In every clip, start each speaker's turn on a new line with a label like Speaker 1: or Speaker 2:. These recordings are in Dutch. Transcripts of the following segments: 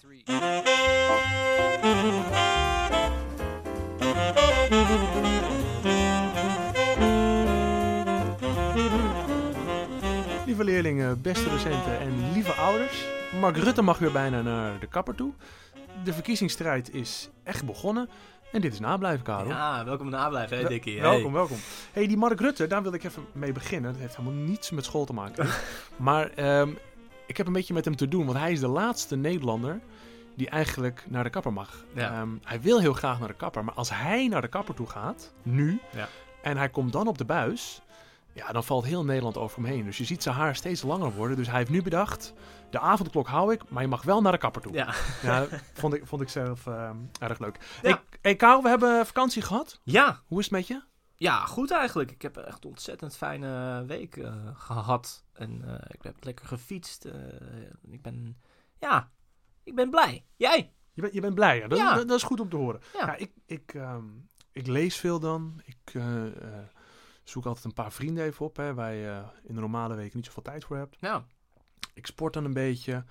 Speaker 1: three.
Speaker 2: Lieve leerlingen, beste docenten en lieve ouders. Mark Rutte mag weer bijna naar de kapper toe. De verkiezingsstrijd is echt begonnen. En dit is nablijven, Karel.
Speaker 3: Ja, welkom nablijven, hè,
Speaker 2: Wel-
Speaker 3: Dikkie. Hey.
Speaker 2: Welkom, welkom. hey, die Mark Rutte, daar wil ik even mee beginnen. Dat heeft helemaal niets met school te maken. maar ehm, ik heb een beetje met hem te doen, want hij is de laatste Nederlander die eigenlijk naar de kapper mag.
Speaker 3: Ja.
Speaker 2: Ehm, hij wil heel graag naar de kapper, maar als hij naar de kapper toe gaat, nu,
Speaker 3: Ja.
Speaker 2: en hij komt dan op de buis, ja, dan valt heel Nederland over hem heen. Dus je ziet zijn haar steeds langer worden. Dus hij heeft nu bedacht, de avondklok hou ik, maar je mag wel naar de kapper toe.
Speaker 3: Ja.
Speaker 2: Ja, vond, ik, vond ik zelf ehm, erg leuk.
Speaker 3: Ja.
Speaker 2: hey, hey, Karel, we hebben vakantie gehad.
Speaker 3: ja,
Speaker 2: Hoe is het met je?
Speaker 3: ja, goed eigenlijk. Ik heb echt een ontzettend fijne week eh, gehad. En eh, ik heb lekker gefietst. eh, ik ben, ja, ik ben blij. Jij?
Speaker 2: Je, bent- je bent blij, ja. Dat,
Speaker 3: Ja.
Speaker 2: Dat, dat is goed om te horen. Ja.
Speaker 3: Ja.
Speaker 2: ik, ik, ehm, ik lees veel dan. Ik eh, eh, zoek altijd een paar vrienden even op, hè, waar je eh, in de normale week niet zoveel tijd voor hebt.
Speaker 3: Nou,
Speaker 2: Ik sport dan een beetje.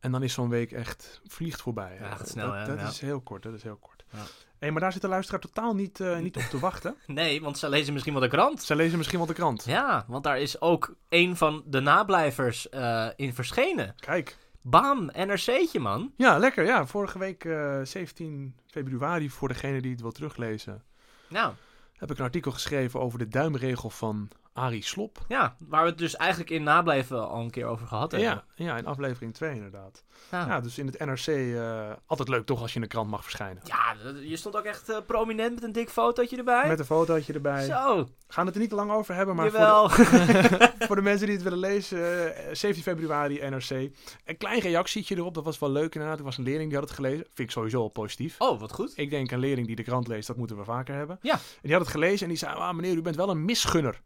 Speaker 2: En dan is zo'n week echt vliegt voorbij.
Speaker 3: Ja, gaat snel,
Speaker 2: dat
Speaker 3: hè?
Speaker 2: dat
Speaker 3: Ja.
Speaker 2: is heel kort, dat is heel kort.
Speaker 3: Ja.
Speaker 2: Hey, maar daar zit de luisteraar totaal niet, eh, niet op te wachten.
Speaker 3: nee, want ze lezen misschien wel de krant.
Speaker 2: Zij lezen misschien wel de krant.
Speaker 3: Ja, want daar is ook een van de nablijvers eh, in verschenen.
Speaker 2: Kijk.
Speaker 3: Bam, NRC'tje, man.
Speaker 2: Ja, lekker. Ja, vorige week eh, 17 februari, voor degene die het wil teruglezen,
Speaker 3: Nou,
Speaker 2: heb ik een artikel geschreven over de duimregel van Arie Slop.
Speaker 3: ja, waar we het dus eigenlijk in nablijven al een keer over gehad hebben.
Speaker 2: Ja, ja, in aflevering 2 inderdaad.
Speaker 3: Nou,
Speaker 2: Ja, dus in het NRC eh, altijd leuk toch als je in de krant mag verschijnen.
Speaker 3: Ja, dat- je stond ook echt eh, prominent met een dik fotootje erbij.
Speaker 2: Met een fotootje erbij.
Speaker 3: Zo,
Speaker 2: Gaan het er niet te lang over hebben, maar voor de,
Speaker 3: jawel.
Speaker 2: voor de mensen die het willen lezen, eh, 17 februari NRC. Een klein reactietje erop, dat was wel leuk inderdaad. Er was een leerling die had het gelezen. Vind ik sowieso al positief.
Speaker 3: Oh, wat goed.
Speaker 2: Ik denk een leerling die de krant leest, dat moeten we vaker hebben.
Speaker 3: Ja.
Speaker 2: En die had het gelezen en die zei, ah, meneer, u bent wel een misgunner.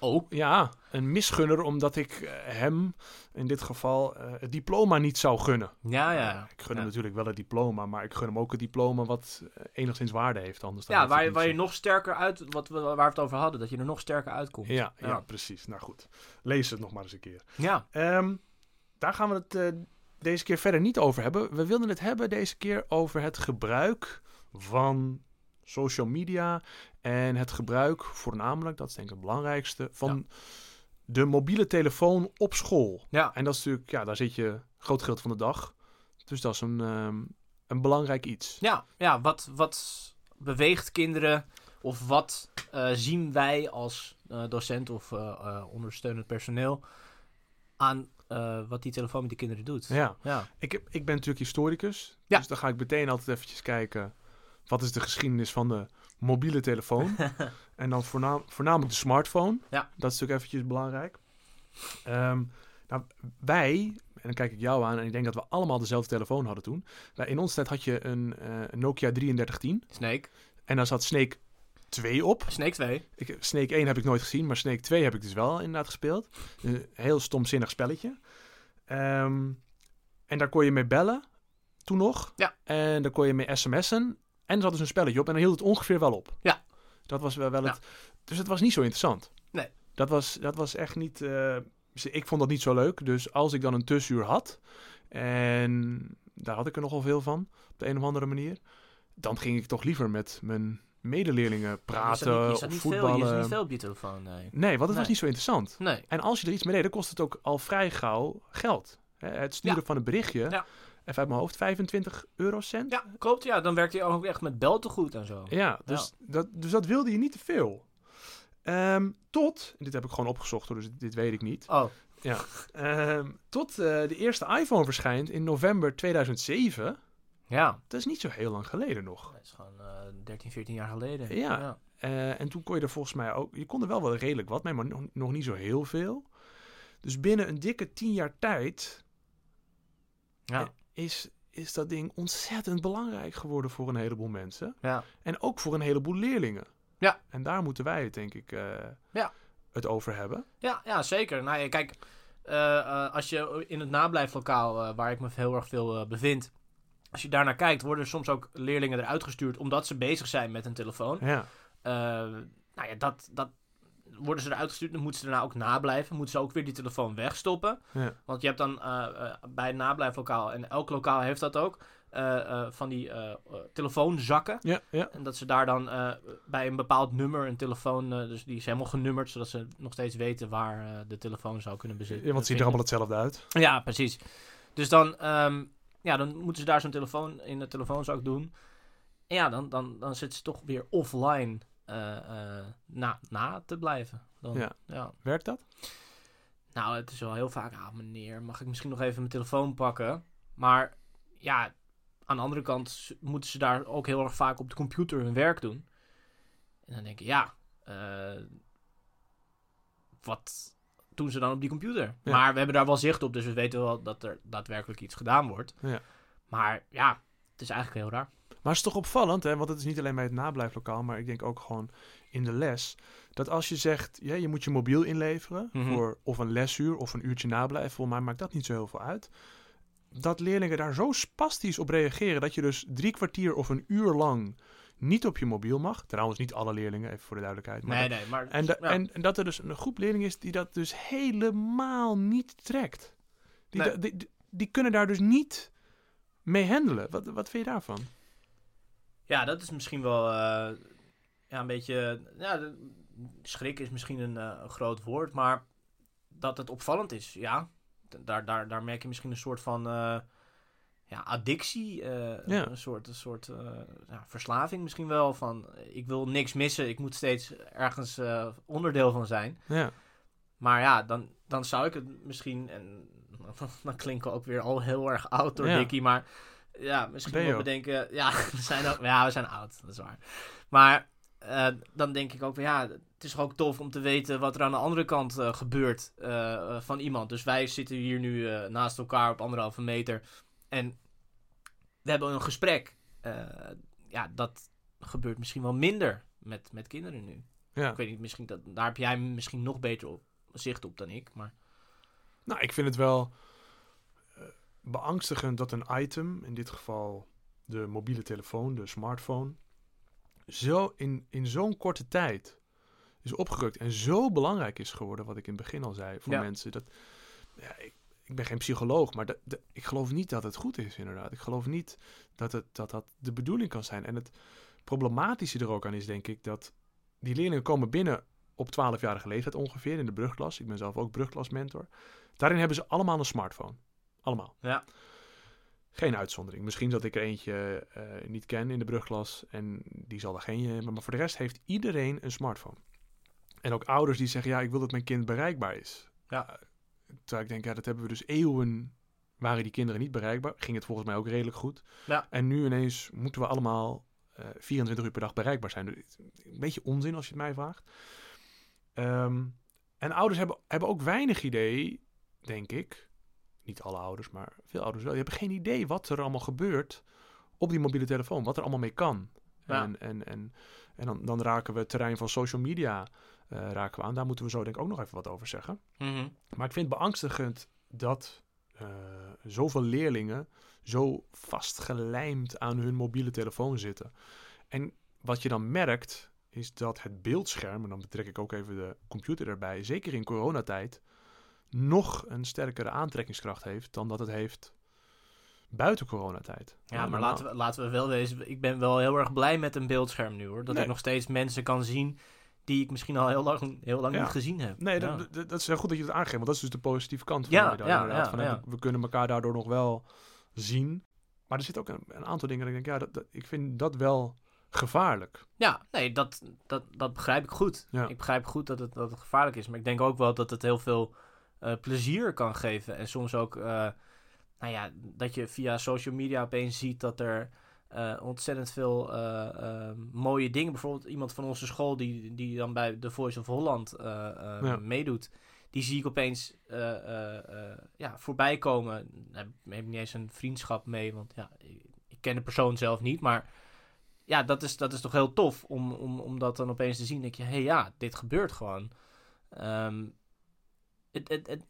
Speaker 3: Oh,
Speaker 2: Ja, een misgunner omdat ik eh, hem, in dit geval, eh, het diploma niet zou gunnen.
Speaker 3: ja,
Speaker 2: Ja,
Speaker 3: ja.
Speaker 2: ik gun hem
Speaker 3: Eh, Ja.
Speaker 2: natuurlijk wel het diploma, maar ik gun hem ook het diploma wat eh, enigszins waarde heeft. Anders dan
Speaker 3: Ja,
Speaker 2: heeft
Speaker 3: waar,
Speaker 2: het
Speaker 3: je-
Speaker 2: niet
Speaker 3: waar je
Speaker 2: zo-
Speaker 3: nog sterker uit, wat we, waar we het over hadden, dat je er nog sterker uitkomt.
Speaker 2: Ja, ja.
Speaker 3: Ja.
Speaker 2: precies. Nou goed, lees het nog maar eens een keer.
Speaker 3: Ja.
Speaker 2: Ehm, daar gaan we het eh, deze keer verder niet over hebben. We wilden het hebben deze keer over het gebruik van social media en het gebruik voornamelijk, dat is denk ik het belangrijkste, van de mobiele telefoon op school.
Speaker 3: Ja.
Speaker 2: En dat is natuurlijk, ja, daar zit je groot geld van de dag. Dus dat is een, ehm, een belangrijk iets.
Speaker 3: Ja, ja wat, wat beweegt kinderen of wat eh, zien wij als eh, docent of eh, eh, ondersteunend personeel aan eh, wat die telefoon met die kinderen doet?
Speaker 2: Ja,
Speaker 3: Ja.
Speaker 2: ik, heb, ik ben natuurlijk historicus.
Speaker 3: Ja.
Speaker 2: Dus dan ga ik meteen altijd eventjes kijken... wat is de geschiedenis van de mobiele telefoon? en dan voornaam, voornamelijk de smartphone.
Speaker 3: Ja.
Speaker 2: Dat is natuurlijk eventjes belangrijk. Ehm, nou, wij, en dan kijk ik jou aan... en ik denk dat we allemaal dezelfde telefoon hadden toen. Wij, in ons tijd had je een eh, Nokia 3310.
Speaker 3: Snake.
Speaker 2: En daar zat Snake 2 op.
Speaker 3: Snake 2.
Speaker 2: Ik, Snake 1 heb ik nooit gezien, maar Snake 2 heb ik dus wel inderdaad gespeeld. Een heel stomzinnig spelletje. Ehm, en daar kon je mee bellen, toen nog.
Speaker 3: Ja.
Speaker 2: En daar kon je mee sms'en. En er zat dus een spelletje op en dan hield het ongeveer wel op.
Speaker 3: Ja.
Speaker 2: Dat was wel, wel
Speaker 3: Ja.
Speaker 2: het... Dus het was niet zo interessant.
Speaker 3: Nee.
Speaker 2: Dat was, dat was echt niet... eh, ik vond dat niet zo leuk. Dus als ik dan een tussenuur had... En daar had ik er nogal veel van, op de een of andere manier. Dan ging ik toch liever met mijn medeleerlingen praten
Speaker 3: je zat niet, je zat
Speaker 2: of
Speaker 3: niet
Speaker 2: voetballen.
Speaker 3: Veel, je zat niet veel op je telefoon, nee.
Speaker 2: Nee, want het was
Speaker 3: Nee.
Speaker 2: niet zo interessant.
Speaker 3: Nee.
Speaker 2: En als je er iets mee deed, dan kost het ook al vrij gauw geld. Hè, Het sturen van een berichtje,
Speaker 3: Ja.
Speaker 2: even uit mijn hoofd, 25 eurocent.
Speaker 3: Ja, klopt. Ja, dan werkt hij ook echt met beltegoed en zo.
Speaker 2: Ja, dus, Dat, dus dat wilde je niet te veel. Ehm, tot, dit heb ik gewoon opgezocht, hoor, dus dit weet ik niet.
Speaker 3: Oh,
Speaker 2: Ehm, tot eh, de eerste iPhone verschijnt in november 2007.
Speaker 3: ja.
Speaker 2: Dat is niet zo heel lang geleden nog.
Speaker 3: Dat is gewoon eh 13, 14 jaar geleden.
Speaker 2: Ja. Eh, en toen kon je er volgens mij ook... Je kon er wel wel redelijk wat mee, maar nog, nog niet zo heel veel. Dus binnen een dikke tien jaar tijd eh,
Speaker 3: Ja.
Speaker 2: is, is dat ding ontzettend belangrijk geworden voor een heleboel mensen.
Speaker 3: Ja.
Speaker 2: En ook voor een heleboel leerlingen.
Speaker 3: Ja.
Speaker 2: En daar moeten wij het denk ik eh,
Speaker 3: Ja.
Speaker 2: het over hebben.
Speaker 3: Ja, ja zeker. Nou ja, kijk, eh, eh, als je in het nablijflokaal, eh, waar ik me heel erg veel eh, bevind, als je daarnaar kijkt, worden soms ook leerlingen eruit gestuurd omdat ze bezig zijn met een telefoon.
Speaker 2: Ja,
Speaker 3: Eh, nou ja, dat, dat, worden ze eruit gestuurd, dan moeten ze daarna ook nablijven. Moeten ze ook weer die telefoon wegstoppen.
Speaker 2: Ja.
Speaker 3: Want je hebt dan eh, eh, bij het nablijflokaal, en elk lokaal heeft dat ook, eh, eh, van die eh, eh, telefoonzakken.
Speaker 2: Ja, ja.
Speaker 3: En dat ze daar dan eh, bij een bepaald nummer een telefoon, eh, dus die is helemaal genummerd, zodat ze nog steeds weten waar eh, de telefoon zou kunnen bezitten.
Speaker 2: Ja, want het ziet er allemaal hetzelfde uit.
Speaker 3: Ja, precies. Dus dan, ehm, ja, dan moeten ze daar zo'n telefoon in de telefoonzak doen. En ja, dan, dan, dan zit ze toch weer offline eh, eh, na, na te blijven. Dan,
Speaker 2: Ja. Werkt dat?
Speaker 3: Nou, het is wel heel vaak, ah meneer, mag ik misschien nog even mijn telefoon pakken? Maar ja, aan de andere kant s- moeten ze daar ook heel erg vaak op de computer hun werk doen. En dan denk ik, ja, eh, wat doen ze dan op die computer?
Speaker 2: Ja.
Speaker 3: Maar we hebben daar wel zicht op, dus we weten wel dat er daadwerkelijk iets gedaan wordt.
Speaker 2: Ja.
Speaker 3: Maar ja, het is eigenlijk heel raar.
Speaker 2: Maar het is toch opvallend, hè? want het is niet alleen bij het nablijflokaal, maar ik denk ook gewoon in de les. Dat als je zegt, ja, je moet je mobiel inleveren
Speaker 3: Mhm.
Speaker 2: voor of een lesuur of een uurtje nablijven, volgens mij maakt dat niet zo heel veel uit. Dat leerlingen daar zo spastisch op reageren dat je dus drie kwartier of een uur lang niet op je mobiel mag. Trouwens, niet alle leerlingen, even voor de duidelijkheid. Maar
Speaker 3: Nee, nee, maar...
Speaker 2: En, da-
Speaker 3: ja.
Speaker 2: en, en dat er dus een groep leerlingen is die dat dus helemaal niet trekt. Die,
Speaker 3: Nee.
Speaker 2: da- die, die- die kunnen daar dus niet mee handelen. Wat, wat vind je daarvan?
Speaker 3: Ja, dat is misschien wel eh, ja, een beetje. Ja, de- schrik is misschien een, eh, een groot woord, maar dat het opvallend is, ja. D- Daar, daar, daar merk je misschien een soort van eh, ja, addictie, eh,
Speaker 2: Ja.
Speaker 3: een soort, een soort eh, ja, verslaving misschien wel. Van eh, ik wil niks missen, ik moet steeds ergens eh, onderdeel van zijn.
Speaker 2: Ja,
Speaker 3: Maar ja, dan, dan zou ik het misschien. En dan klinken we ook weer al heel erg oud door
Speaker 2: Ja.
Speaker 3: Dickie. Maar ja,
Speaker 2: Ben
Speaker 3: misschien
Speaker 2: je
Speaker 3: wel
Speaker 2: ook.
Speaker 3: bedenken. Ja we, zijn ook, ja, we zijn oud, dat is waar. Maar eh, dan denk ik ook van ja, het is toch ook tof om te weten wat er aan de andere kant eh, gebeurt eh, eh, van iemand. Dus wij zitten hier nu eh, naast elkaar op anderhalve meter. En we hebben een gesprek. Eh, ja, dat gebeurt misschien wel minder met, met kinderen nu.
Speaker 2: ja.
Speaker 3: Ik weet niet, misschien dat, daar heb jij misschien nog beter op, zicht op dan ik. Maar
Speaker 2: Nou, ik vind het wel eh, beangstigend dat een item, in dit geval de mobiele telefoon, de smartphone, zo in, in zo'n korte tijd is opgerukt en zo belangrijk is geworden, wat ik in het begin al zei, voor
Speaker 3: Ja.
Speaker 2: mensen. Dat, ja, ik, ik ben geen psycholoog, maar dat- dat- ik geloof niet dat het goed is, inderdaad. Ik geloof niet dat het, dat, dat de bedoeling kan zijn. En het problematische er ook aan is, denk ik, dat die leerlingen komen binnen op 12-jarige leeftijd ongeveer, in de brugklas. Ik ben zelf ook brugklasmentor. Daarin hebben ze allemaal een smartphone. Allemaal.
Speaker 3: Ja.
Speaker 2: Geen uitzondering. Misschien dat ik er eentje eh, niet ken in de brugklas en die zal er geen eh, hebben. Maar voor de rest heeft iedereen een smartphone. En ook ouders die zeggen, ja, ik wil dat mijn kind bereikbaar is.
Speaker 3: Ja.
Speaker 2: Eh, Terwijl ik denk, ja, dat hebben we dus eeuwen, waren die kinderen niet bereikbaar. Ging het volgens mij ook redelijk goed.
Speaker 3: Ja.
Speaker 2: En nu ineens moeten we allemaal eh, 24 uur per dag bereikbaar zijn. Dus het is Een beetje onzin als je het mij vraagt. Ehm, en ouders hebben, hebben ook weinig idee, denk ik. Niet alle ouders, maar veel ouders wel. Die hebben geen idee wat er allemaal gebeurt op die mobiele telefoon. Wat er allemaal mee kan.
Speaker 3: Ja.
Speaker 2: En, en, en, en dan, dan raken we het terrein van social media eh, raken we aan. Daar moeten we zo denk ik ook nog even wat over zeggen. Maar ik vind het beangstigend dat eh, zoveel leerlingen zo vastgelijmd aan hun mobiele telefoon zitten. En wat je dan merkt, is dat het beeldscherm, en dan betrek ik ook even de computer erbij, zeker in coronatijd, nog een sterkere aantrekkingskracht heeft dan dat het heeft buiten coronatijd.
Speaker 3: ja, maar laten we, laten we wel wezen. Ik ben wel heel erg blij met een beeldscherm nu hoor. Dat
Speaker 2: Nee.
Speaker 3: ik nog steeds mensen kan zien die ik misschien al heel lang, heel lang
Speaker 2: Ja.
Speaker 3: niet gezien heb.
Speaker 2: Nee,
Speaker 3: ja.
Speaker 2: dat, dat- dat is heel goed dat je dat aangeeft, want dat is dus de positieve kant van
Speaker 3: Ja,
Speaker 2: de medaille.
Speaker 3: ja,
Speaker 2: inderdaad.
Speaker 3: ja,
Speaker 2: van, hè,
Speaker 3: ja.
Speaker 2: We, we kunnen elkaar daardoor nog wel zien. Maar er zit ook een, een aantal dingen dat ik denk, ja, dat, dat- ik vind dat wel gevaarlijk.
Speaker 3: Ja, nee, dat, dat, dat begrijp ik goed.
Speaker 2: Ja.
Speaker 3: Ik begrijp goed dat het, dat het gevaarlijk is. Maar ik denk ook wel dat het heel veel eh, plezier kan geven. En soms ook, eh, nou ja, dat je via social media opeens ziet dat er eh, ontzettend veel eh, eh, mooie dingen. Bijvoorbeeld iemand van onze school die, die dan bij The Voice of Holland eh, eh,
Speaker 2: Ja.
Speaker 3: meedoet. Die zie ik opeens eh, eh, eh, ja, voorbij komen. Daar heb ik niet eens een vriendschap mee, want ja, ik, ik ken de persoon zelf niet. Maar ja, dat is, dat is toch heel tof om, om, om dat dan opeens te zien. Dan denk je, hé hey, ja, dit gebeurt gewoon. Ehm, het, het, het-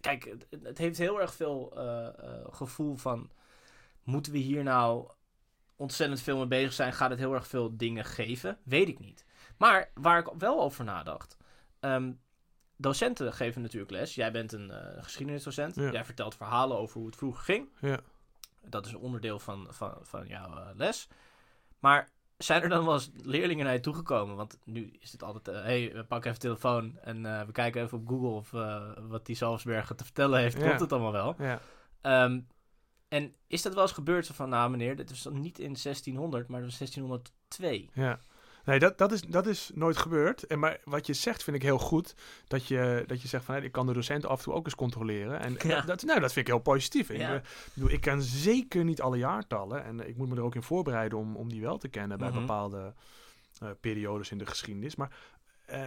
Speaker 3: kijk, het, het- het heeft heel erg veel eh, eh, gevoel van... moeten we hier nou ontzettend veel mee bezig zijn? Gaat het heel erg veel dingen geven? Weet ik niet. Maar waar ik wel over nadacht... ehm, docenten geven natuurlijk les. Jij bent een eh, geschiedenisdocent.
Speaker 2: Ja.
Speaker 3: Jij vertelt verhalen over hoe het vroeger ging.
Speaker 2: Ja.
Speaker 3: Dat is een onderdeel van, van, van jouw eh, les. Maar zijn er dan wel eens leerlingen naar je toegekomen? Want nu is het altijd, eh, hey, we pakken even telefoon en eh, we kijken even op Google of eh, wat die Salzbergen te vertellen heeft.
Speaker 2: Ja.
Speaker 3: Klopt het allemaal wel?
Speaker 2: Ja.
Speaker 3: Ehm, en is dat wel eens gebeurd? Zo van, nou meneer, dit was dan niet in 1600, maar dat was 1602.
Speaker 2: Ja. Nee, dat, dat, is, dat is nooit gebeurd. En, maar wat je zegt vind ik heel goed. Dat je, dat je zegt van, hé, ik kan de docent af en toe ook eens controleren. En
Speaker 3: Ja.
Speaker 2: dat, nou, dat vind ik heel positief. Ik,
Speaker 3: Ja.
Speaker 2: eh, bedoel, ik ken zeker niet alle jaartallen. En eh, ik moet me er ook in voorbereiden om, om die wel te kennen bij
Speaker 3: Mhm.
Speaker 2: bepaalde eh, periodes in de geschiedenis. Maar eh,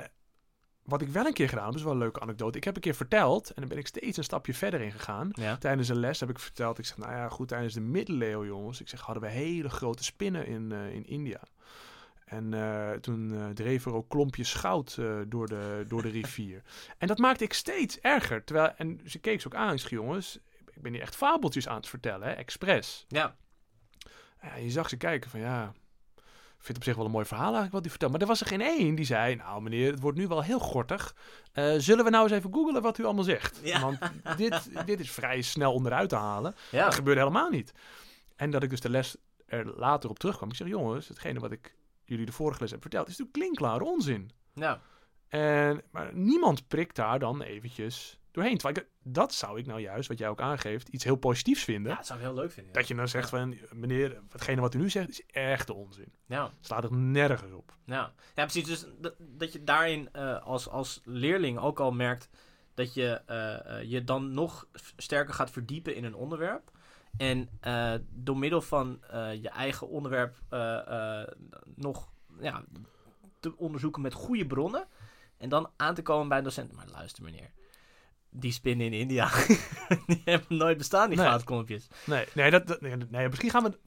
Speaker 2: wat ik wel een keer gedaan heb, is wel een leuke anekdote. Ik heb een keer verteld, en dan ben ik steeds een stapje verder in gegaan.
Speaker 3: Ja.
Speaker 2: Tijdens een les heb ik verteld, ik zeg, nou ja, goed, tijdens de middeleeuwen, jongens. Ik zeg, hadden we hele grote spinnen in, eh, in India. En eh, toen eh dreven er ook klompjes goud eh, door, de, door de rivier. en dat maakte ik steeds erger. Terwijl, en ze keek ze ook aan, ik zeg, jongens, ik ben hier echt fabeltjes aan het vertellen, hè, expres.
Speaker 3: Ja.
Speaker 2: Ja, je zag ze kijken van, ja, ik vind het op zich wel een mooi verhaal eigenlijk wat hij vertelt. Maar er was er geen één die zei, nou meneer, het wordt nu wel heel gortig. Eh, zullen we nou eens even googelen wat u allemaal zegt?
Speaker 3: Ja.
Speaker 2: Want dit, dit is vrij snel onderuit te halen.
Speaker 3: Ja.
Speaker 2: Dat gebeurde helemaal niet. En dat ik dus de les er later op terugkwam. Ik zeg, jongens, hetgene wat ik jullie de vorige les heb verteld, is natuurlijk klinkklare onzin.
Speaker 3: Nou,
Speaker 2: En, maar niemand prikt daar dan eventjes doorheen. Terwijl ik- dat zou ik nou juist, wat jij ook aangeeft, iets heel positiefs vinden.
Speaker 3: ja, dat zou ik heel leuk vinden. Ja.
Speaker 2: Dat je dan zegt van, meneer, hetgene wat u nu zegt is echt onzin.
Speaker 3: Nou,
Speaker 2: Slaat het nergens op.
Speaker 3: nou. Ja, precies. Dus dat, dat je daarin eh, als, als leerling ook al merkt dat je eh, eh, je dan nog f- sterker gaat verdiepen in een onderwerp. En eh, door middel van eh, je eigen onderwerp eh, eh, nog ja, te onderzoeken met goede bronnen. En dan aan te komen bij een docent. Maar luister meneer, die spinnen in India, die hebben nooit bestaan, die
Speaker 2: Nee.
Speaker 3: goudklompjes.
Speaker 2: Nee, nee, dat, dat- nee, nee, misschien gaan we,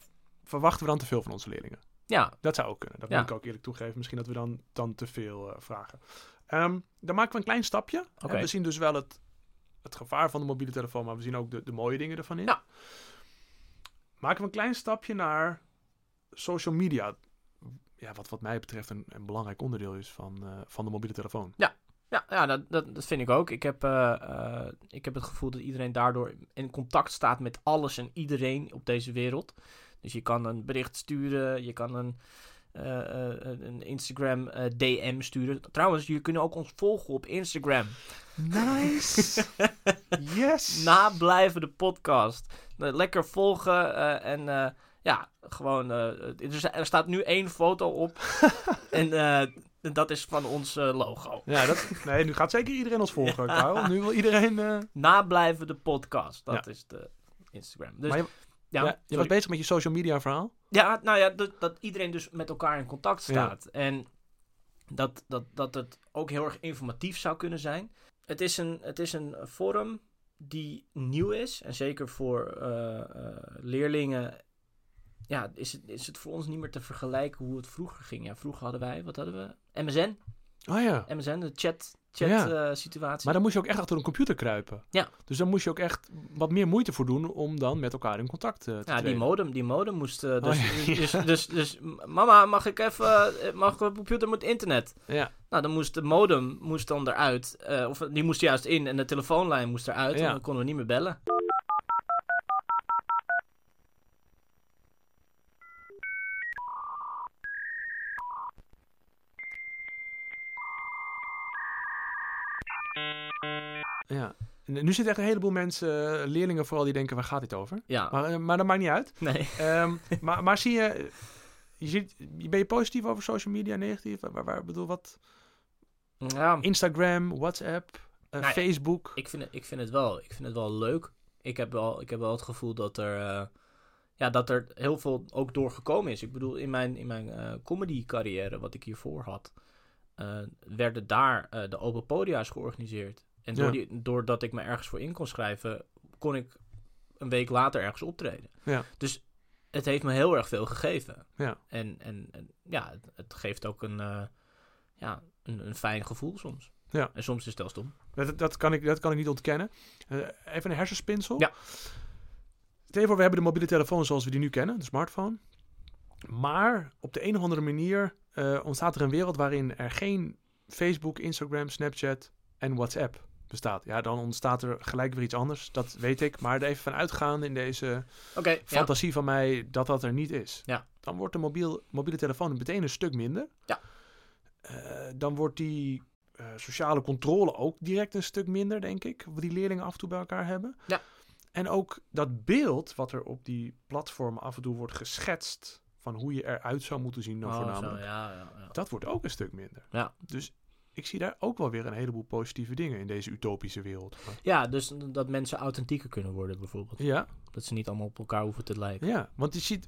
Speaker 2: verwachten we dan te veel van onze leerlingen.
Speaker 3: Ja,
Speaker 2: Dat zou ook kunnen. Dat
Speaker 3: Ja.
Speaker 2: moet ik ook eerlijk toegeven. Misschien dat we dan, dan te veel eh, vragen. Ehm, dan maken we een klein stapje. En
Speaker 3: Oké.
Speaker 2: we zien dus wel het, het gevaar van de mobiele telefoon, maar we zien ook de, de mooie dingen ervan in.
Speaker 3: Ja.
Speaker 2: Maken we een klein stapje naar social media. Ja, wat wat mij betreft een, een belangrijk onderdeel is van, eh, van de mobiele telefoon.
Speaker 3: Ja, ja dat, dat, dat vind ik ook. Ik heb, eh, eh, ik heb het gevoel dat iedereen daardoor in contact staat met alles en iedereen op deze wereld. Dus je kan een bericht sturen, je kan een, eh, eh, een Instagram eh, DM sturen. Trouwens, jullie kunnen ook ons volgen op Instagram.
Speaker 2: Nice! yes!
Speaker 3: Nablijven de podcast. Eh, Lekker volgen eh, en eh, ja, gewoon. eh, er, sta- er staat nu één foto op en eh, dat is van ons eh, logo.
Speaker 2: Ja, dat, nee, nu gaat zeker iedereen ons volgen, Karel. Nu wil iedereen... eh,
Speaker 3: Nablijven de podcast, dat is de Instagram. Dus
Speaker 2: Maar je-
Speaker 3: ja,
Speaker 2: ja,
Speaker 3: sorry.
Speaker 2: je was bezig met je social media verhaal?
Speaker 3: Ja, nou ja, dat, dat iedereen dus met elkaar in contact staat. En dat, dat, dat het ook heel erg informatief zou kunnen zijn. Het is een, het is een forum die nieuw is. En zeker voor eh, eh, leerlingen ja, is, het, is het voor ons niet meer te vergelijken hoe het vroeger ging. Ja, vroeger hadden wij, wat hadden we? MSN.
Speaker 2: Oh ja.
Speaker 3: MSN, de chat, chat
Speaker 2: Ja.
Speaker 3: eh, situatie.
Speaker 2: Maar dan moest je ook echt achter een computer kruipen.
Speaker 3: Ja.
Speaker 2: Dus dan moest je ook echt wat meer moeite voor doen om dan met elkaar in contact eh, te
Speaker 3: Ja, die
Speaker 2: treden.
Speaker 3: modem, die modem moest. eh, dus,
Speaker 2: Oh, ja.
Speaker 3: dus, dus, dus, m- mama, mag ik even. eh, Mag ik op computer moet internet?
Speaker 2: Ja.
Speaker 3: Nou, dan moest de modem moest dan eruit. eh, of die moest juist in en de telefoonlijn moest eruit.
Speaker 2: Ja.
Speaker 3: En dan konden we niet meer bellen.
Speaker 2: ja. En Nu zitten echt een heleboel mensen, eh, leerlingen vooral, die denken, waar gaat dit over?
Speaker 3: Ja,
Speaker 2: Maar, eh, maar dat maakt niet uit.
Speaker 3: nee.
Speaker 2: Ehm, maar, maar zie je, je ziet, ben je positief over social media, negatief? Waar, waar- waar- bedoel, wat?
Speaker 3: Ja,
Speaker 2: Instagram, WhatsApp, eh,
Speaker 3: Hm. Nou ja,
Speaker 2: Facebook.
Speaker 3: ik vind, het, ik vind het wel. Ik vind het wel leuk. Ik heb wel, ik heb wel het gevoel dat er. eh, ja, dat er heel veel ook doorgekomen is. Ik bedoel, in mijn, in mijn eh, comedy-carrière, wat ik hiervoor had, eh, werden daar eh, de open podia's georganiseerd. En door
Speaker 2: Ja.
Speaker 3: die, doordat ik me ergens voor in kon schrijven, kon ik een week later ergens optreden.
Speaker 2: Ja.
Speaker 3: Dus het heeft me heel erg veel gegeven.
Speaker 2: Ja.
Speaker 3: En, en, en ja, het, het geeft ook een, eh, ja, een, een fijn gevoel soms.
Speaker 2: Ja.
Speaker 3: En soms is het wel stom.
Speaker 2: Dat, dat, kan ik, dat kan ik niet ontkennen. Eh, even een hersenspinsel.
Speaker 3: Ja.
Speaker 2: Stel je voor, we hebben de mobiele telefoon zoals we die nu kennen, de smartphone. Maar op de een of andere manier eh, ontstaat er een wereld waarin er geen Facebook, Instagram, Snapchat en WhatsApp bestaat. Ja, dan ontstaat er gelijk weer iets anders. Dat weet ik. Maar er even van uitgaan in deze
Speaker 3: Oké, ja.
Speaker 2: fantasie van mij dat dat er niet is.
Speaker 3: Ja.
Speaker 2: Dan wordt de mobiel, mobiele telefoon meteen een stuk minder.
Speaker 3: Ja.
Speaker 2: Eh, dan wordt die eh, sociale controle ook direct een stuk minder, denk ik. Wat die leerlingen af en toe bij elkaar hebben.
Speaker 3: Ja.
Speaker 2: En ook dat beeld wat er op die platformen af en toe wordt geschetst... van hoe je eruit zou moeten zien dan
Speaker 3: Oh, zo,
Speaker 2: voornamelijk.
Speaker 3: ja, ja, ja.
Speaker 2: Dat wordt ook een stuk minder.
Speaker 3: Ja.
Speaker 2: Dus ik zie daar ook wel weer een heleboel positieve dingen in deze utopische wereld. Maar-
Speaker 3: ja, dus dat mensen authentieker kunnen worden bijvoorbeeld.
Speaker 2: Ja,
Speaker 3: Dat ze niet allemaal op elkaar hoeven te lijken.
Speaker 2: ja, want je ziet,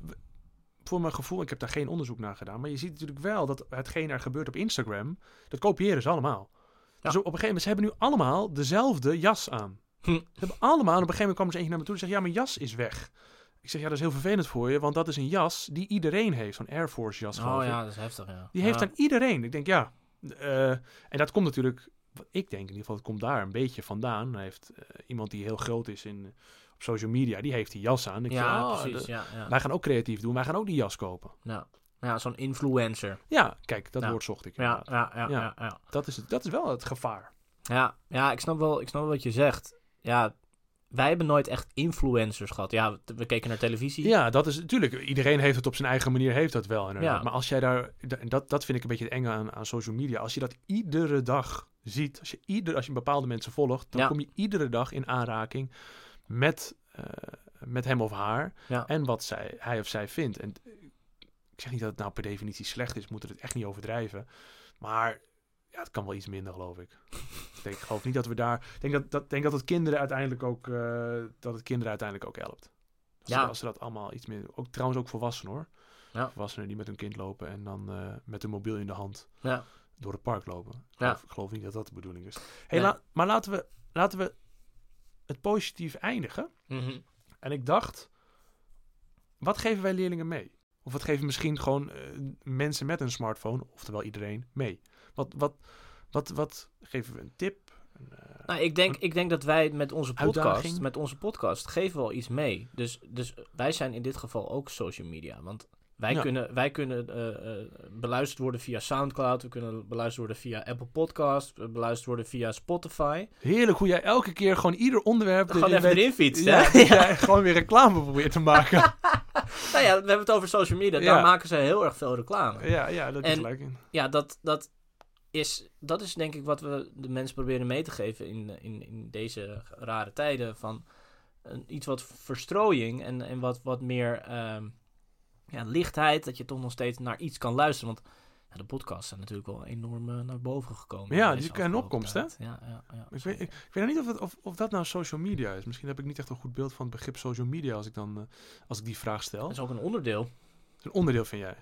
Speaker 2: voor mijn gevoel, ik heb daar geen onderzoek naar gedaan, maar je ziet natuurlijk wel dat hetgeen er gebeurt op Instagram, dat kopiëren ze allemaal.
Speaker 3: Ja.
Speaker 2: Dus op een gegeven moment, ze hebben nu allemaal dezelfde jas aan.
Speaker 3: Hm.
Speaker 2: Ze hebben allemaal, en op een gegeven moment kwam er eens eentje naar me toe en zegt, ja, mijn jas is weg. Ik zeg, ja, dat is heel vervelend voor je, want dat is een jas die iedereen heeft, zo'n Air Force jas geloof
Speaker 3: Oh
Speaker 2: ik.
Speaker 3: ja, dat is heftig, ja.
Speaker 2: Die heeft
Speaker 3: ja.
Speaker 2: aan iedereen. Ik denk, ja. eh, en dat komt natuurlijk, wat ik denk in ieder geval, het komt daar een beetje vandaan. Hij heeft eh, iemand die heel groot is in, op social media, die heeft die jas aan. Ik
Speaker 3: Ja,
Speaker 2: vind, oh,
Speaker 3: precies,
Speaker 2: de-
Speaker 3: ja, ja.
Speaker 2: Wij gaan ook creatief doen, wij gaan ook die jas kopen.
Speaker 3: ja. Nou Ja, zo'n influencer.
Speaker 2: Ja, kijk, dat
Speaker 3: Ja.
Speaker 2: woord zocht ik.
Speaker 3: Ja,
Speaker 2: inderdaad.
Speaker 3: ja, ja,
Speaker 2: Ja.
Speaker 3: ja. ja.
Speaker 2: Dat, is het, dat is wel het gevaar.
Speaker 3: Ja, ja ik, snap wel, ik snap wel wat je zegt. Ja, wij hebben nooit echt influencers gehad. Ja, we- we keken naar televisie.
Speaker 2: Ja, dat is natuurlijk. Iedereen heeft het op zijn eigen manier, heeft dat wel. inderdaad.
Speaker 3: Ja.
Speaker 2: Maar als jij daar, da- en dat, dat vind ik een beetje het enge aan, aan social media. Als je dat iedere dag ziet, als je, ieder, als je bepaalde mensen volgt, dan
Speaker 3: Ja.
Speaker 2: kom je iedere dag in aanraking met, eh, met hem of haar
Speaker 3: Ja.
Speaker 2: en wat zij, hij of zij vindt. En eh, ik zeg niet dat het nou per definitie slecht is, we moeten het echt niet overdrijven. Maar ja, het kan wel iets minder, geloof ik. ik denk, geloof niet dat we daar. Ik denk dat, dat, denk dat het kinderen uiteindelijk ook, eh, dat het kinderen uiteindelijk ook helpt. Als,
Speaker 3: Ja.
Speaker 2: ze, als ze dat allemaal iets meer. Ook, trouwens ook volwassenen hoor.
Speaker 3: Ja.
Speaker 2: Volwassenen die met hun kind lopen en dan eh, met hun mobiel in de hand
Speaker 3: Ja.
Speaker 2: door het park lopen. Ik,
Speaker 3: Ja.
Speaker 2: geloof, ik geloof niet dat dat de bedoeling is. Hey,
Speaker 3: Nee.
Speaker 2: la- maar laten we, laten we het positief eindigen.
Speaker 3: Mhm.
Speaker 2: En ik dacht, wat geven wij leerlingen mee? Of wat geven misschien gewoon eh, mensen met een smartphone, oftewel iedereen, mee? Wat, wat, wat, wat geven we een tip? Een, eh,
Speaker 3: Nou, ik denk, ik denk dat wij met onze podcast,
Speaker 2: Uitdaging.
Speaker 3: met onze podcast geven wel iets mee. Dus, dus wij zijn in dit geval ook social media. Want wij
Speaker 2: Ja.
Speaker 3: kunnen, wij kunnen eh, eh, beluisterd worden via Soundcloud. We kunnen beluisterd worden via Apple Podcast. We beluisterd worden via Spotify.
Speaker 2: Heerlijk hoe jij elke keer gewoon ieder onderwerp...
Speaker 3: Gewoon
Speaker 2: erin
Speaker 3: even
Speaker 2: weet-
Speaker 3: erin fietsen.
Speaker 2: Ja,
Speaker 3: hè?
Speaker 2: dat jij gewoon weer reclame probeert te maken.
Speaker 3: Nou ja, we hebben het over social media.
Speaker 2: Ja.
Speaker 3: Daar maken ze heel erg veel reclame.
Speaker 2: ja, ja, dat is
Speaker 3: En-
Speaker 2: gelijk. in.
Speaker 3: ja, dat, dat, is, dat is denk ik wat we de mensen proberen mee te geven in, in, in deze rare tijden. Van een, iets wat verstrooiing en, en wat, wat meer ehm, ja, lichtheid. Dat je toch nog steeds naar iets kan luisteren. Want ja, de podcasts zijn natuurlijk wel enorm eh, naar boven gekomen.
Speaker 2: Ja,
Speaker 3: in
Speaker 2: die
Speaker 3: deze
Speaker 2: zijn in
Speaker 3: afgelopen
Speaker 2: opkomst,
Speaker 3: tijd. Ja, ja, ja.
Speaker 2: Ik weet, ik, ik weet nog niet of, het, of, of dat nou social media is. Misschien heb ik niet echt een goed beeld van het begrip social media als ik, dan, eh, als ik die vraag stel.
Speaker 3: Dat is ook een onderdeel.
Speaker 2: Een onderdeel vind jij?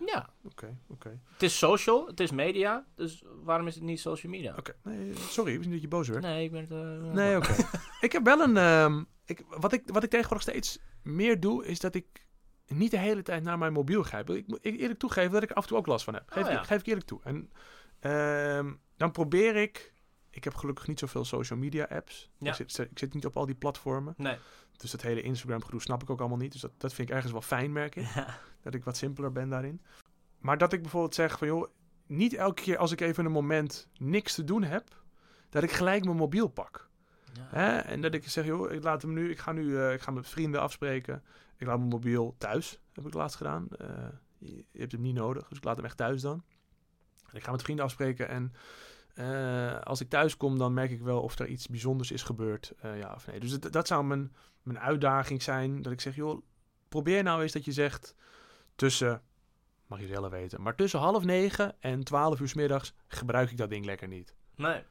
Speaker 2: Oké,
Speaker 3: Ja,
Speaker 2: oké.
Speaker 3: het is social, het is media. Dus waarom is het niet social media?
Speaker 2: Oké, nee, sorry, ik was niet dat je boos werd.
Speaker 3: Nee, ik ben het... eh,
Speaker 2: Nee, oké. ik heb wel een. ehm, ik, wat, ik, wat ik tegenwoordig steeds meer doe, is dat ik niet de hele tijd naar mijn mobiel grijp. Ik moet ik eerlijk toegeven dat ik er af en toe ook last van heb. Geef,
Speaker 3: Oh,
Speaker 2: ik-
Speaker 3: ja.
Speaker 2: geef ik eerlijk toe. En ehm, dan probeer ik. Ik heb gelukkig niet zoveel social media apps.
Speaker 3: Ja.
Speaker 2: Ik, zit, ik zit niet op al die platformen.
Speaker 3: Nee.
Speaker 2: Dus dat hele Instagram gedoe snap ik ook allemaal niet. Dus dat, dat vind ik ergens wel fijn, merk ik.
Speaker 3: Ja.
Speaker 2: Dat ik wat simpeler ben daarin. Maar dat ik bijvoorbeeld zeg van joh, niet elke keer als ik even een moment niks te doen heb, dat ik gelijk mijn mobiel pak.
Speaker 3: Ja.
Speaker 2: Hè? En dat ik zeg, joh, ik laat hem nu, ik ga nu, eh, ik ga met vrienden afspreken. Ik laat mijn mobiel thuis, heb ik laatst gedaan. Eh, je, je hebt hem niet nodig, dus ik laat hem echt thuis dan. En ik ga met vrienden afspreken en eh, als ik thuis kom, dan merk ik wel of er iets bijzonders is gebeurd, eh, ja of nee. Dus dat, dat zou mijn, mijn uitdaging zijn, dat ik zeg, joh, probeer nou eens dat je zegt tussen, mag je zelf weten, maar tussen half negen en twaalf uur 's middags gebruik ik dat ding lekker niet
Speaker 3: Nee.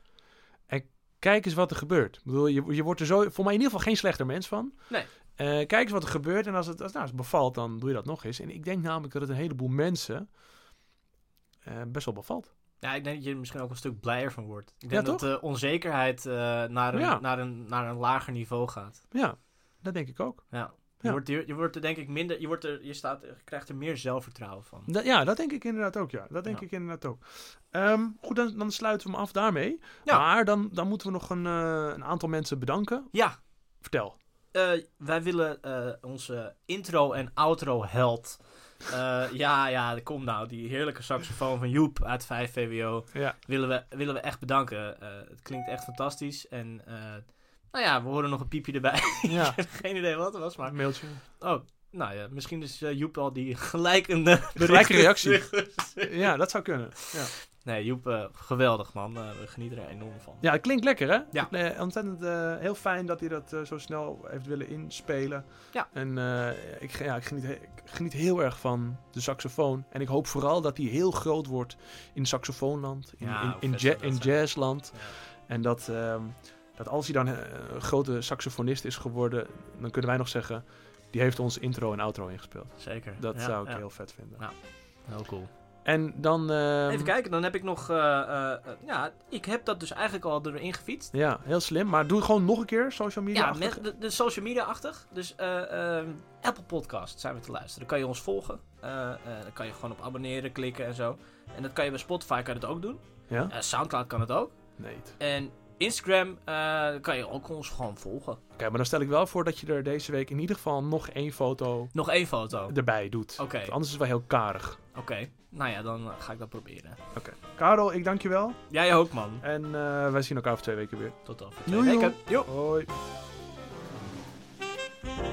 Speaker 2: kijk eens wat er gebeurt. Ik bedoel, je, je wordt er zo, voor mij in ieder geval geen slechter mens van.
Speaker 3: Nee.
Speaker 2: Eh, kijk eens wat er gebeurt en als het, als, nou, als het bevalt, dan doe je dat nog eens. En ik denk namelijk dat het een heleboel mensen eh, best wel bevalt.
Speaker 3: Ja, ik denk dat je er misschien ook een stuk blijer van wordt. Ik
Speaker 2: Ja,
Speaker 3: denk
Speaker 2: toch?
Speaker 3: dat de onzekerheid eh, naar, een,
Speaker 2: Ja.
Speaker 3: naar, een, naar een lager niveau gaat.
Speaker 2: Ja, dat denk ik ook.
Speaker 3: Ja. Je,
Speaker 2: Ja.
Speaker 3: Wordt, je, je wordt er denk ik minder, je, wordt er, je, staat, je krijgt er meer zelfvertrouwen van.
Speaker 2: Dat- ja, dat denk ik inderdaad ook. Ja, dat denk
Speaker 3: Ja.
Speaker 2: ik inderdaad ook. Ehm, goed, dan, dan sluiten we hem af daarmee.
Speaker 3: Ja.
Speaker 2: Maar dan, dan moeten we nog een, eh, een aantal mensen bedanken.
Speaker 3: Ja,
Speaker 2: Vertel.
Speaker 3: eh, wij willen eh, onze intro en outro held Eh, ja, ja, kom nou. Die heerlijke saxofoon van Joep uit 5 VWO
Speaker 2: Ja.
Speaker 3: willen we, willen we echt bedanken. Eh, het klinkt echt fantastisch. En eh, nou ja, we horen nog een piepje erbij.
Speaker 2: ja.
Speaker 3: Geen idee wat het was, maar...
Speaker 2: Een mailtje.
Speaker 3: Oh, nou ja, misschien is eh, Joep al die gelijk een eh, bericht-
Speaker 2: Gelijke reactie. Ja, dat zou kunnen. Ja,
Speaker 3: Nee, Joep, eh, geweldig man. Eh, we genieten er enorm van.
Speaker 2: ja het klinkt lekker, hè?
Speaker 3: Ja.
Speaker 2: Eh, ontzettend eh, heel fijn dat hij dat eh, zo snel heeft willen inspelen.
Speaker 3: Ja.
Speaker 2: En eh, ik, ge- ja, ik, geniet, he- ik geniet heel erg van de saxofoon. En ik hoop vooral dat hij heel groot wordt in saxofoonland, in,
Speaker 3: Ja,
Speaker 2: in,
Speaker 3: hoe
Speaker 2: in,
Speaker 3: vet zou
Speaker 2: ja-
Speaker 3: dat
Speaker 2: in
Speaker 3: zijn?
Speaker 2: jazzland.
Speaker 3: Ja.
Speaker 2: En dat, ehm, dat als hij dan eh, een grote saxofonist is geworden, dan kunnen wij nog zeggen... Die heeft ons intro en outro ingespeeld.
Speaker 3: Zeker.
Speaker 2: Dat
Speaker 3: Ja,
Speaker 2: zou ik
Speaker 3: ja.
Speaker 2: heel vet vinden.
Speaker 3: Ja. Heel cool.
Speaker 2: En dan... ehm,
Speaker 3: Even kijken, dan heb ik nog... eh, eh, eh, ja, ik heb dat dus eigenlijk al erin gefietst.
Speaker 2: Ja, heel slim. Maar doe gewoon nog een keer social media.
Speaker 3: Ja,
Speaker 2: achter-
Speaker 3: met de, de social media-achtig. Dus eh, ehm, Apple Podcast zijn we te luisteren. Dan kan je ons volgen. Eh, eh, dan kan je gewoon op abonneren klikken en zo. En dat kan je bij Spotify kan je dat ook doen.
Speaker 2: Ja?
Speaker 3: Eh, Soundcloud kan het ook.
Speaker 2: Nee. Oké,
Speaker 3: En Instagram eh, kan je ook ons gewoon volgen.
Speaker 2: maar dan stel ik wel voor dat je er deze week in ieder geval nog één foto
Speaker 3: Nog één foto. Oké,
Speaker 2: erbij doet.
Speaker 3: oké.
Speaker 2: Want Anders is het wel heel karig.
Speaker 3: Nou ja, dan eh, ga ik dat proberen.
Speaker 2: Karel, ik dank je wel.
Speaker 3: Jij ook, man.
Speaker 2: En eh, wij zien elkaar over twee weken weer.
Speaker 3: Tot over twee
Speaker 2: Joe, joe.
Speaker 3: weken. Joe.
Speaker 2: Hoi.
Speaker 1: Thank you.